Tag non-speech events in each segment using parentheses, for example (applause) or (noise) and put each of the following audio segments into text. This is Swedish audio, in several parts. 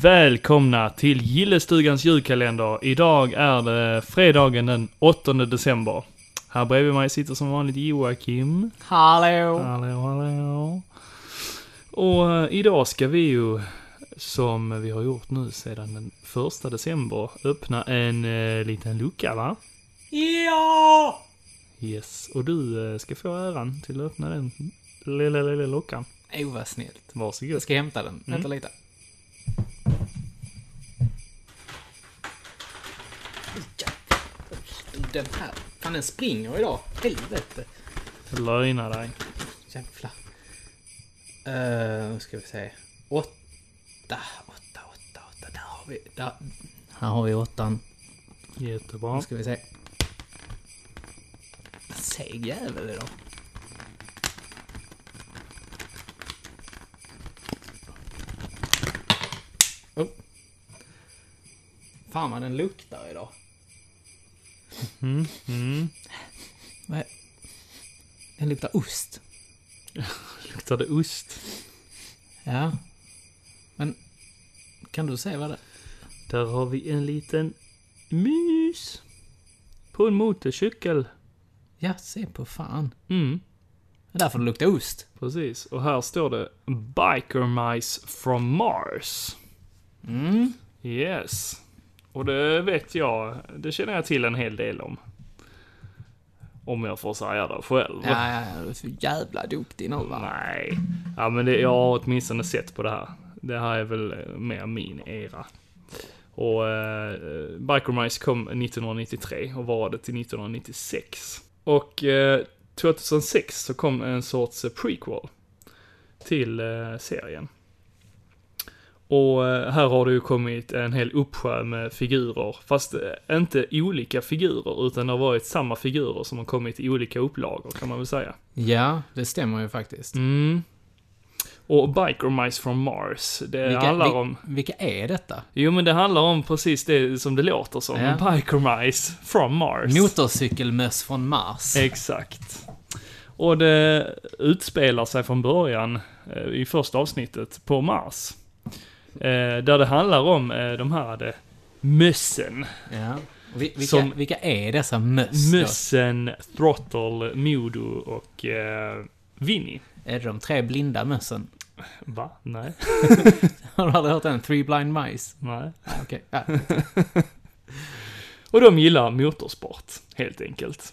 Välkomna till Gillestugans julkalender. Idag är det fredagen den 8 december. Här bredvid mig sitter som vanligt Joakim. Hallå! Hallå, hallå. Och eh, idag ska vi ju, som vi har gjort nu sedan den 1 december, öppna en eh, liten lucka va? Ja! Yes, och du eh, ska få äran till att öppna den lilla, lilla luckan. Oh, vad snällt. Varsågod. Jag ska hämta den. Vänta lite. Den här. Fan, den springer idag. Helvete. Löjna dig. Jävlar. Eh, nu ska vi se. Åtta, åtta, åtta, åtta. Där har vi... Där. Här har vi åttan. Jättebra. Nu ska vi se. Seg jävel idag. Oh. Fan vad den luktar idag. Mm, mm. Vad är- Den luktar ost. Luktar det ost? Ja. Men kan du säga vad det Där har vi en liten mus. På en motorcykel. Ja, se på fan. Mm, Det är därför det luktar ost. precis. Och här står det Biker Mice from Mars. Mm. Yes. Och det vet jag, det känner jag till en hel del om. Om jag får säga det själv. Ja, ja, ja, du är så jävla duktig nu va. Nej. Ja men det, jag har åtminstone sett på det här. Det här är väl eh, mer min era. Och eh, Biker Mice kom 1993 och varade till 1996. Och eh, 2006 så kom en sorts eh, prequel till eh, serien. Och eh, här har det ju kommit en hel uppsjö med figurer, fast eh, inte olika figurer, utan det har varit samma figurer som har kommit i olika upplagor kan man väl säga. Ja, det stämmer ju faktiskt. Mm. Och Biker Mice from Mars, det Vilka, handlar vil- om... vilka är detta? Jo men det handlar om precis det som det låter som. Ja. Biker Mice from Mars. Motorcykelmöss från Mars. Eh, Exakt. Och det utspelar sig från början, eh, i första avsnittet, på Mars. Eh, där det handlar om eh, de här eh, mössen. Ja. Och vi- Vilka, Som- vilka är dessa möss? då? Mössen, Throttle, Modo och eh, Vinny. Är det de tre blinda mössen? (laughs) Va? Nej. Har du aldrig hört den? Three blind mice? Nej. Ah, Okej. Ja. Och de gillar motorsport, helt enkelt.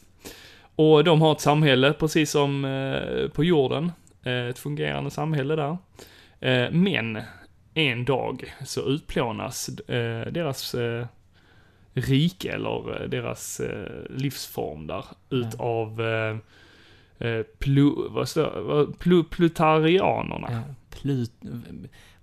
Och de har ett samhälle, precis som eh, på jorden. Eh, ett fungerande samhälle där. Eh, men, en dag så utplånas eh, deras eh, rike, eller eh, deras eh, livsform där, utav eh, eh, plu, vad står, vad, plu, plutarianerna. Ja. Plut...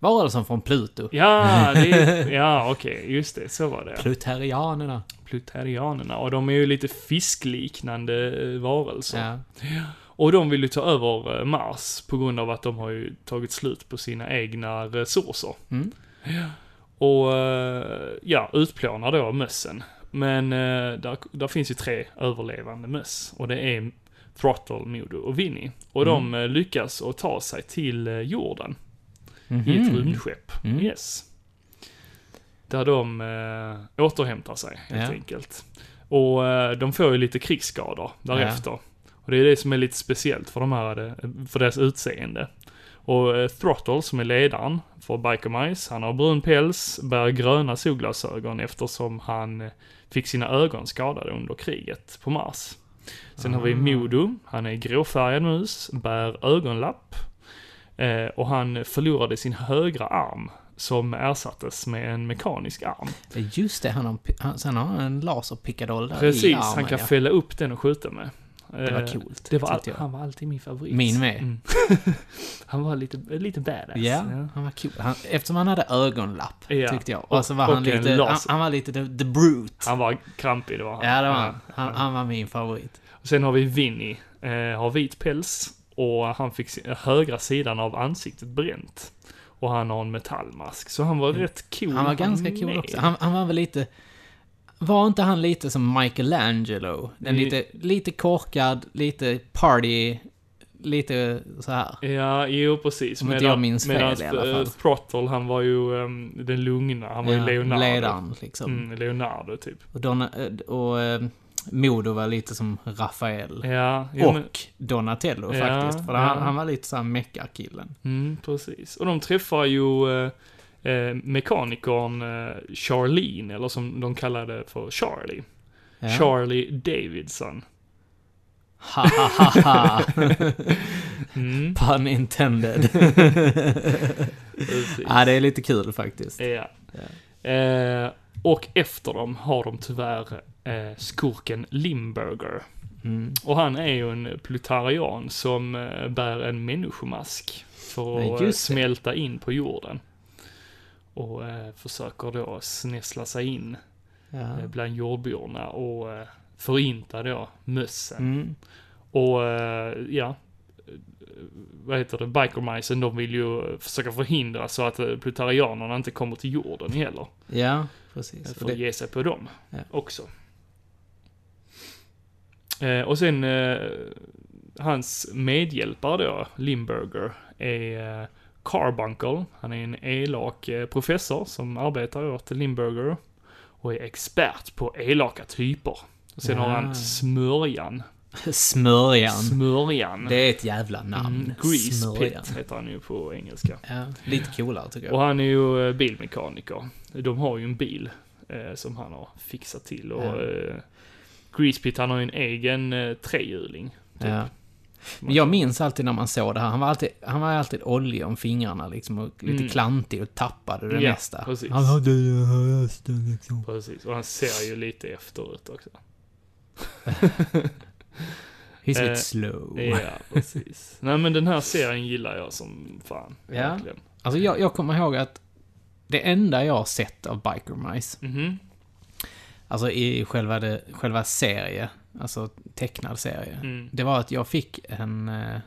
Varelsen från Pluto. Ja, det är, ja okej, just det, så var det. Plutarianerna. Plutarianerna, och de är ju lite fiskliknande eh, varelser. Ja. Och de vill ju ta över eh, Mars på grund av att de har ju tagit slut på sina egna resurser. Mm. Och, eh, ja, utplånar då mössen. Men eh, där, där finns ju tre överlevande möss. Och det är Throttle, Modo och Vinny. Och de eh, lyckas att ta sig till eh, jorden i ett rymdskepp. Mm. Yes. Där de eh, återhämtar sig, helt Ja. enkelt. Och eh, de får ju lite krigsskador därefter. Och det är det som är lite speciellt för de här, eh, för deras utseende. Och eh, Throttle, som är ledaren för Biker Mice, han har brun päls, bär gröna solglasögon eftersom han eh, fick sina ögon skadade under kriget på Mars. Sen Ah. har vi Modo, han är gråfärgad mus, bär ögonlapp eh, och han förlorade sin högra arm som ersattes med en mekanisk arm. Eh, Just det, han har, en pi- han, sen har han en laserpickadoll där i Precis, armen, han kan ja. fälla upp den och skjuta med. Det var Eh, coolt, Det var all, tyckte jag. han var alltid min favorit. Min med. Mm. han var lite, lite badass. Ja, han var cool. Han, eftersom han hade ögonlapp, Ja. tyckte jag. Och- Och så var och han en lite... Han, laser. Ah, han var lite the, the brute. Han var krampig, det var han. Ja, det var han. Han, han var min favorit. Sen har vi Vinny, eh, har vit päls och han fick si- högra sidan av ansiktet bränt. Och han har en metallmask, så han var rätt cool. Mm. Han var ganska cool med. också. Han, han var väl lite... Var inte han lite som Michelangelo? Den Mm. lite, lite korkad, lite party... lite så här. Ja, jo precis. Om inte jag minns fel i alla fall. eh, Prothol, han var ju ehm, den lugna, han var ju Ja, Leonardo. Ledaren liksom. Mm, Leonardo typ. Och, Donna, eh, och eh, Modo var lite som Rafael. Ja, jo, och men- Donatello Ja, faktiskt. För ja. han, han var lite såhär meckarkillen. Mm, precis. Och de träffar ju eh, eh, mekanikern eh, Charlene, eller som de kallade för Charlie. Ja. Charlie Davidson. Ha, ha, ha, ha. (laughs) Mm, Pun intended. (laughs) precis. ja, det är lite kul faktiskt. Ja. Eh, och efter dem har de tyvärr eh, skurken Limburger. Mm. Och han är ju en plutarian som eh, bär en människomask för Ja, att just eh, det. smälta in på jorden. Och eh, försöker då snäsla sig in Ja. eh, bland jordborna och eh, förinta då mössen. Mm. Och eh, ja, eh, vad heter det, bikermajsen, de vill ju eh, försöka förhindra så att eh, plutarianerna inte kommer till jorden heller. ja, eh, precis. För Och att det, ge sig på dem Ja. också. Eh, Och sen eh, hans medhjälpare då, Limburger, är eh, Carbuncle. Han är en elak eh, professor som arbetar åt Limburger och är expert på elaka typer. Och sen har Ah. han Smörjan. smörjan. Smörjan. Det är ett jävla namn. Mm, Grease smörjan. Pit heter han ju på engelska. Ja, lite coolare tycker jag. Och han är ju eh, bilmekaniker. De har ju en bil eh, som han har fixat till. Och Ja. eh, Grease Pit, han har ju en egen eh, trehjuling. Ja. Men jag minns alltid när man såg det här. Han var alltid, han var alltid oljig om fingrarna liksom och lite Mm. klantig och tappade det Ja, mesta. precis. Han hade ju här hästen liksom. Precis, och han ser ju lite efterut också. He's Eh, lite slow. Ja, precis. Nej men den här serien gillar jag som fan. Ja. Verkligen. Alltså jag, jag kommer ihåg att det enda jag har sett av Biker Mice, Mhm. alltså i själva, det, själva serie, alltså tecknad serie, Mm. det var att jag fick en, eh,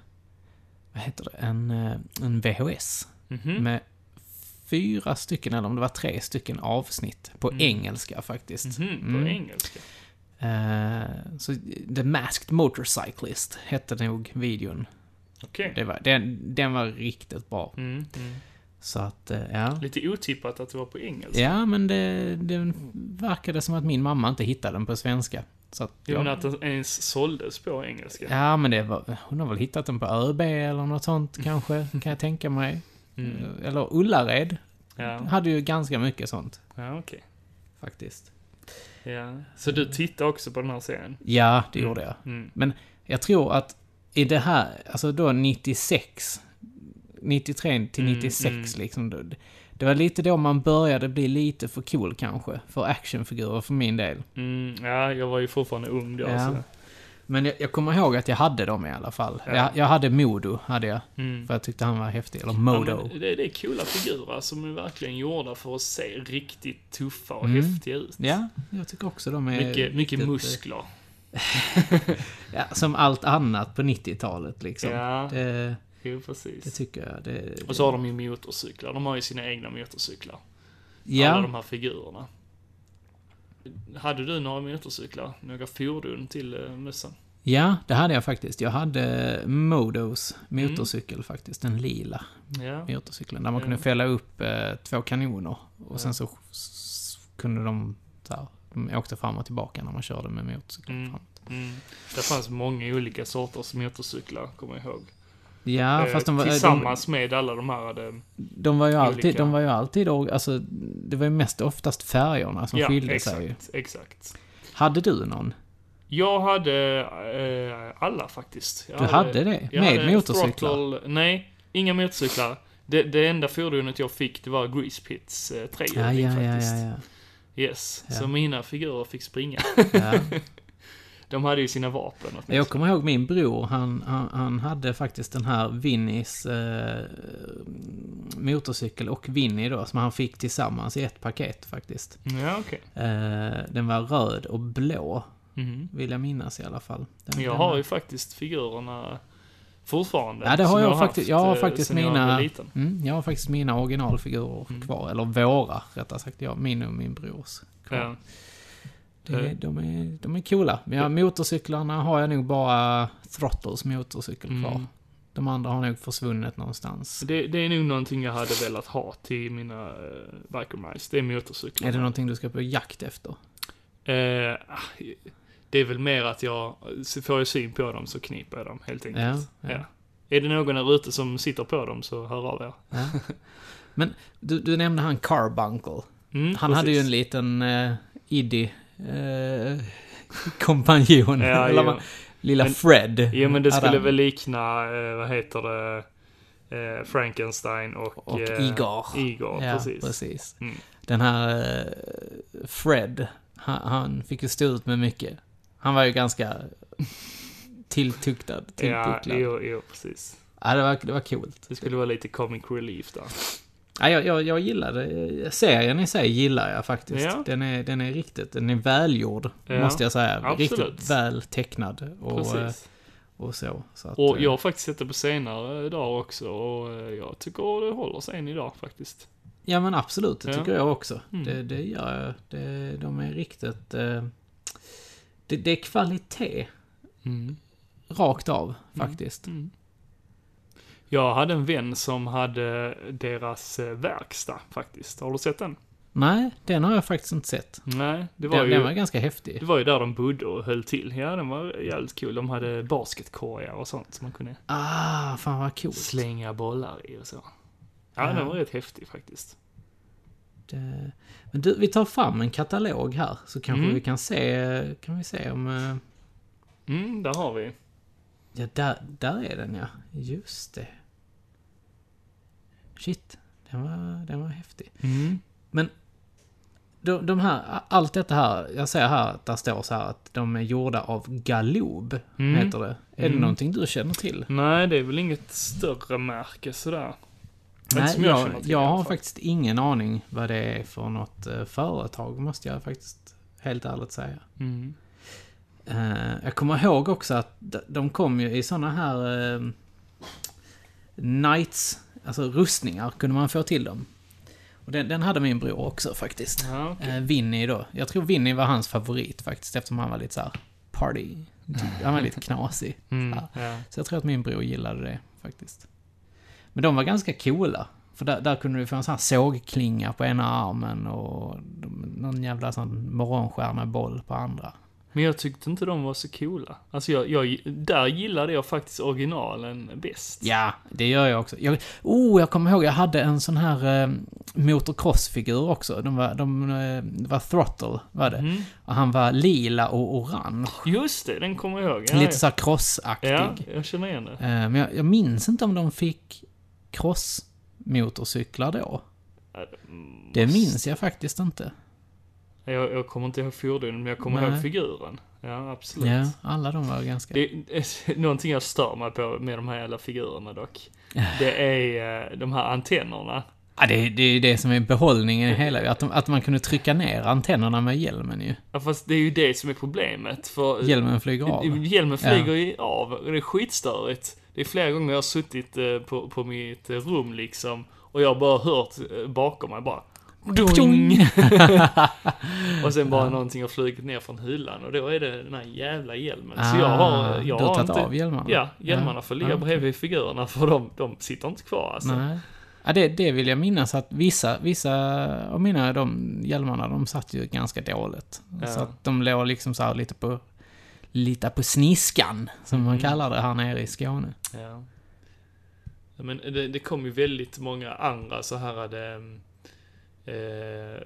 vad heter det, en, eh, en VHS Mhm. med fyra stycken, eller om det var tre stycken avsnitt på Mm. engelska faktiskt. Mhm, på Mm. engelska. Eh, så The Masked Motorcyclist hette nog videon. Okej. Det var, den, den var riktigt bra. Mm, mm. Så att, eh, ja. Lite otippat att det var på engelska. Ja, men det, det verkade som att min mamma inte hittade den på svenska. Så att Jo, jag, men alltså. att den ens såldes på engelska. Ja, men det var, hon har väl hittat den på ÖB eller något sånt kanske, kan jag tänka mig. Mm. Eller Ullared Ja, hade ju ganska mycket sånt, ja okej. faktiskt. Ja. Så du tittar också på den här serien? Ja, det gjorde jag. Mm. Jag tror att i det här, alltså då 96, 93 till Mm, 96 mm. liksom. Det, det var lite då man började bli lite för cool kanske, för actionfigurer för min del. Mm, ja, jag var ju fortfarande ung då. alltså. Ja. Så. Men jag, jag kommer ihåg att jag hade dem i alla fall. Ja. Jag, jag hade Modo, hade jag. Mm. För jag tyckte han var häftig. Eller Ja, Modo. men det, det är coola figurer som är verkligen gjorda för att se riktigt tuffa och Mm. häftiga ut. Ja, jag tycker också de är... Mycket, mycket riktigt, eh, muskler. Ja, som allt annat på 90-talet liksom. Ja, Det, jo det precis. tycker jag. Det, Och så har de ju motorcyklar. De har ju sina egna motorcyklar. Alla ja, de här figurerna. Hade du några motorcyklar? Några fordon till eh, mössan? ja, det hade jag faktiskt. Jag hade Modos Mm. motorcykel faktiskt. Den lila Ja. motorcykeln. Där man Ja. kunde fälla upp eh, två kanoner. Och Ja. sen så s- kunde de... Så här, de åkte fram och tillbaka när man körde med motorcykeln Mm. framåt. Mm. Det fanns många olika sorters motorcyklar, kommer jag ihåg. Ja, Eh, fast de var... de- Tillsammans med alla de här hade... De var ju alltid, Olika. de var ju alltid, org- alltså det var ju mest oftast färgerna som skilde exakt, sig ju. exakt. Hade du någon? Jag hade eh, alla faktiskt. Jag Du hade det? jag Med hade motorcyklar? Throttle, nej, inga motorcyklar. Det, det enda fordonet jag fick, det var Grease Pits eh, Ja, trehjuling ja, ja, faktiskt. ja, Yes, Ja. så mina figurer fick springa. (laughs) ja. De hade ju sina vapen ja. åtminstone. Jag kommer ihåg min bror, han, han, han hade faktiskt den här Vinnies eh, motorcykel och Vinnie då, som han fick tillsammans i ett paket faktiskt. Ja, okej. Eh, den var röd och blå, Mhm. vill jag minnas i alla fall. Den, Jag den har var- ju faktiskt figurerna fortfarande. Ja, det har som jag haft, faktiskt- jag har eh, faktiskt sen jag mina- var liten. Mm, jag har faktiskt mina originalfigurer Mm. kvar, eller våra rättare sagt, jag, min och min brors. Kvar. Ja. Det, Eh. de, är, de är coola. Men ja, Ja. motorcyklarna har jag nog bara Throttles motorcykel kvar. Mm. De andra har nog försvunnit någonstans. Det, det är nog någonting jag hade velat ha till mina eh, Biker Mice. Det är motorcyklar. Är det någonting du ska på jakt efter? Eh, ah, det är väl mer att jag, så får jag syn på dem så kniper jag dem helt enkelt. Ja, ja. Är det någon där ute som sitter på dem så hör av er. Ja. Men du, du nämnde han Carbuncle. Mm, Han hade ju en precis. liten eh, iddy eh, (laughs) kompanjon. Ja, (laughs) Eller jo. vad- Lilla Men- Fred. Jo men det skulle Adam väl likna, eh, vad heter det, eh, Frankenstein och... Och eh, Igor. Igor, Ja, precis. precis. Mm. Den här eh, Fred, han, han fick ju stå ut med mycket. Han var ju ganska tilltuktad, Ja, tillpucklad. Ja, jo, jo, precis. det, var, det var coolt. Det skulle vara lite comic relief där. Ja, jag, jag, jag gillade, serien i sig gillar jag faktiskt. Ja. Den, är, den är riktigt, den är välgjord, Ja, måste jag säga. absolut. Riktigt väl tecknad och, eh, Precis. och så. så att, Och eh, jag har faktiskt sett det på senare dagar också och eh, jag tycker det håller sig än idag faktiskt. Ja men absolut, det Ja. tycker jag också. Mm. Det, det gör jag. Det, de är riktigt... Eh, det, det är kvalitet, rakt av faktiskt. Mm. Jag hade en vän som hade deras eh, verkstad faktiskt. Har du sett den? Nej, den har jag faktiskt inte sett. Nej, det var Den, ju... den var ganska häftig. Det var ju där de bodde och höll till. Ja, den var jävligt kul. De hade basketkorgar och sånt som man kunde Ah, fan vad coolt. slänga bollar i och så. Ja, Ja. den var rätt häftig faktiskt. Det, men du, vi tar fram en katalog här så kanske Mm. vi kan se, kan vi se om... eh, Mm, där har vi. Ja, där, där är den ja. Just det. Shit, den var, den var häftig. Men de, de här, allt detta här, jag ser här att det står så här att de är gjorda av galob, Mm. heter det. Är det Mm. någonting du känner till? Nej, det är väl inget större märke sådär. Inte som jag jag, känner jag, till i alla har fall. faktiskt ingen aning vad det är för något eh, företag, måste jag faktiskt helt ärligt säga. Mm. Eh, jag kommer ihåg också att d- de kom ju i såna här eh, knights, alltså rustningar, kunde man få till dem. Och den, den hade min bror också faktiskt. Ja, okej. Eh, Vinny då. Jag tror Vinny var hans favorit faktiskt eftersom han var lite så här party. Han var lite knasig. Mm, Så, ja. så jag tror att min bror gillade det faktiskt. Men de var ganska coola. För där, där kunde du få en sån här sågklinga på ena armen och de- någon jävla sån morgonstjärneboll på andra. Men jag tyckte inte de var så coola. Alltså, jag, jag, där gillade jag faktiskt originalen bäst. Ja, det gör jag också. Jag, oh, jag kommer ihåg, jag hade en sån här eh, motocrossfigur också. De var, de, eh, det var Throttle, var det. Mm. Och han var lila och orange. Just det, den kommer jag ihåg. Ja, ja. Lite så här crossaktig. ja, jag känner igen det. Eh, Men jag, jag minns inte om de fick crossmotorcyklar då. Det minns jag faktiskt inte. Jag, jag kommer inte ihåg fordonen, men jag kommer Nej. ihåg figuren. Ja, absolut. Ja, alla de var ganska... Det (laughs) är någonting jag stör mig på med de här jävla figurerna dock. Det är eh, de här antennerna. Ja, det, det är ju det som är behållningen i hela... Att, de, att man kunde trycka ner antennerna med hjälmen ju. Ja, fast det är ju det som är problemet. För Hjälmen flyger av. Hjälmen flyger ju av och det är skitstörigt. Det är flera gånger jag har suttit eh, på, på mitt eh, rum liksom och jag har bara hört eh, bakom mig bara Dung! och sen bara någonting har flugit ner från hyllan och då är det den här jävla hjälmen. Så jag har, jag Ah, du har har tagit inte... av hjälmarna? Ja, hjälmarna får ligga Ja, okej. bredvid figurerna för de, de sitter inte kvar alltså. Nej. Ja, det, det vill jag minnas att vissa, vissa av mina de hjälmarna, de satt ju ganska dåligt. Ja. Så att de låg liksom så här lite på, lite på sniskan, som Mm. man kallar det här nere i Skåne. Ja. Ja, Men det, det kom ju väldigt många andra så här hade eh,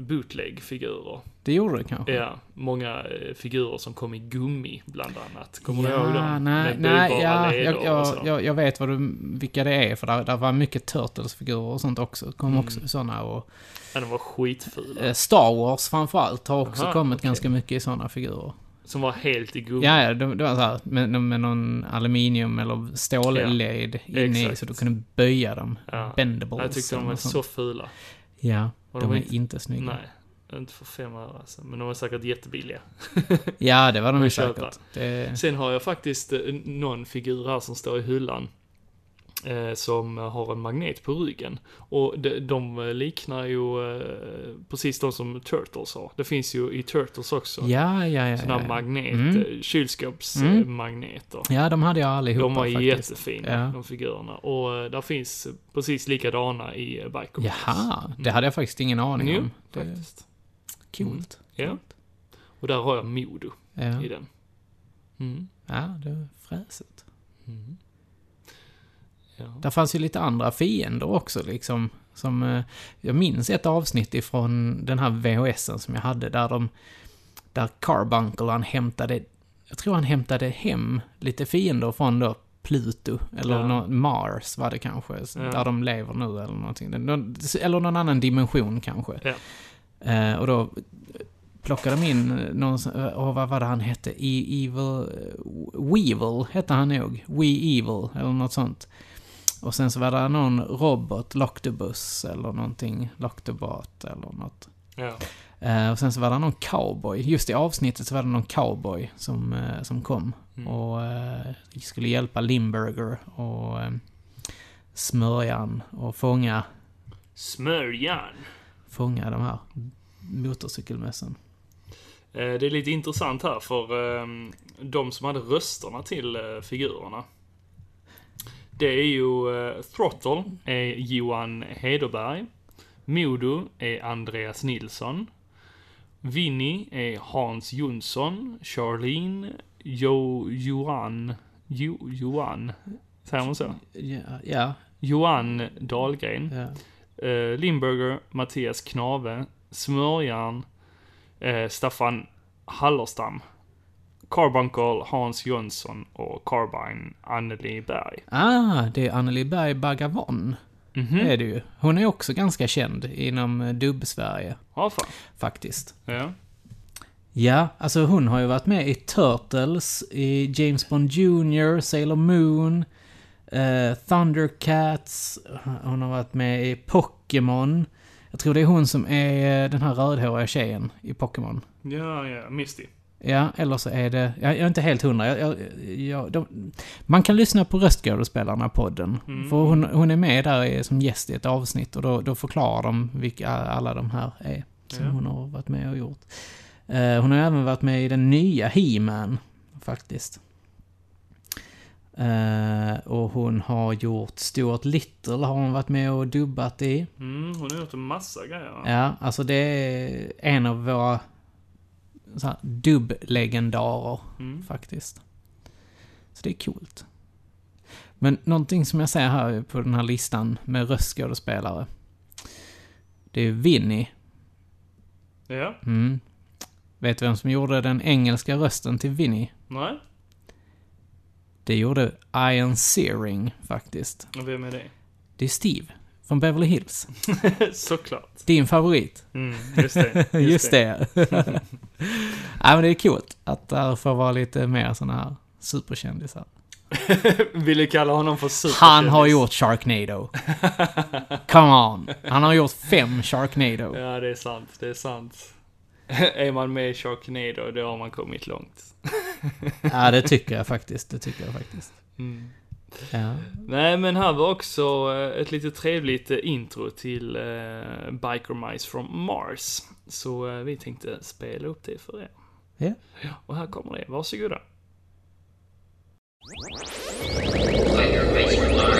bootleg-figurer. Det gjorde det kanske? Ja, många eh, figurer som kom i gummi bland annat. Kommer du Ja, ihåg dem? Nej, Med nej, böjbara ja, leder jag, och så. jag, jag, jag vet vad du, vilka det är, för där, där var mycket Turtles-figurer och sånt också. Det kom Mm. också sådana och... Ja, de var skitfula. Eh, Star Wars framförallt har också Aha, kommit okej. ganska mycket i sådana figurer. Som var helt i gummi. Ja, ja, det, det var så här med, med någon aluminium eller stålled inne i exakt. så du kunde böja dem. Ja. Bendables. Jag tyckte de eller var något sånt. så fula. Ja, Och de var är inte snygga. Nej, inte för fem öre alltså. Men de var säkert jättebilliga. Ja, det var de Men ju köpa. säkert. Det, Sen har jag faktiskt eh, någon figur här som står i hyllan. eh, som har en magnet på ryggen. Och de, de liknar ju eh, precis de som Turtles har. Det finns ju i Turtles också. Ja, ja, ja. ja, Sådana ja. här magnet, Mm. eh, kylskåpsmagneter. ja, de hade jag allihopa De var faktiskt. jättefina, Ja. de figurerna. Och eh, där finns precis likadana i eh, Biker Mice. Jaha, det hade jag faktiskt ingen aning Mm. Jo, om. Det är faktiskt. Mm. coolt. Ja. Och där har jag Modo Ja, i den. Mm. ja det är fräset. Mm. Ja. Där fanns ju lite andra fiender också liksom. Som, eh, jag minns ett avsnitt ifrån den här VHSen som jag hade där de... Där Carbuncle han hämtade... Jag tror han hämtade hem lite fiender från då Pluto, eller Ja. nå- Mars var det kanske, så- Ja. där de lever nu eller någonting. Det- någon- Eller någon annan dimension kanske. Ja. Eh, och då plockade de in någon, som- åh vad var det han hette? E Evil... eh, Weevil hette han nog. We Evil, eller något sånt. Och sen så var det någon robot, Loctobus eller någonting, Loctobot eller något. Ja. Eh, och sen så var det någon cowboy. Just i avsnittet så var det någon cowboy som, eh, som kom Mm. och eh, skulle hjälpa Limburger och eh, smörjan och fånga, Smörjan. fånga de här motorcykelmössen. Eh, Det är lite intressant här för eh, de som hade rösterna till eh, figurerna. Det är ju eh, Throttle är Johan Hederberg. Modo är Andreas Nilsson. Vinny är Hans Jonsson. Charlene Jo Johan Jo Johan. Säger man så? Ja, ja, Johan Dahlgren. ja. Eh, Limburger, Mattias Knave, Smörjan, eh, Staffan Hallerstam, Carbuncle, Hans Jönsson och Carbine, Anneli Berg. Ah, det är Anneli Berg Bagavon. Mhm. Det är det ju. Hon är också ganska känd inom eh, dubb-Sverige, Ja, fan. faktiskt. Ja. Ja, alltså hon har ju varit med i Turtles, i James Bond Jr, Sailor Moon, eh, Thundercats, hon har varit med i Pokémon. Jag tror det är hon som är eh, den här rödhåriga tjejen i Pokémon. ja, ja, Misty. Ja, eller så är det... Jag jag är inte helt hundra. Jag, jag, jag, de, man kan lyssna på Röstskådespelarna-podden. Mm. För hon, hon är med där i- som gäst i ett avsnitt och då, då förklarar de vilka alla de här är. Som Ja. hon har varit med och gjort. Eh, hon har även varit med i den nya He-Man, faktiskt. Eh, och hon har gjort Stuart Little, har hon varit med och dubbat i. Mm, hon har gjort en massa grejer. Ja, alltså det är en av våra så här, dubblegendarer Mm. faktiskt. Så det är coolt. Men någonting som jag ser här på den här listan med röstskådespelare. Det är Vinny. Ja, Mm. Vet du vem som gjorde den engelska rösten till Vinny? nej. Det gjorde Ian Searing faktiskt. Och vem är det? Det är Steve från Beverly Hills. (laughs) Såklart. Din favorit. Mm, just det. (laughs) Just, (laughs) Just det. (laughs) Nej men det är coolt att där får vara lite mer såna här superkändisar. (laughs) Vill du kalla honom för superkändis? Han har gjort Sharknado. Come on. Han har gjort (laughs) fem Sharknado. Ja, det är sant. Det är sant. (laughs) är man med i Sharknado, då har man kommit långt. Ja, det tycker jag faktiskt. Det tycker jag faktiskt. Mm. Ja. Nej, men här var också eh, ett lite trevligt eh, intro till eh, Biker Mice from Mars. Så eh, vi tänkte spela upp det för er. Ja. Ja, och här kommer det. Varsågoda. Biker Mice from Mars.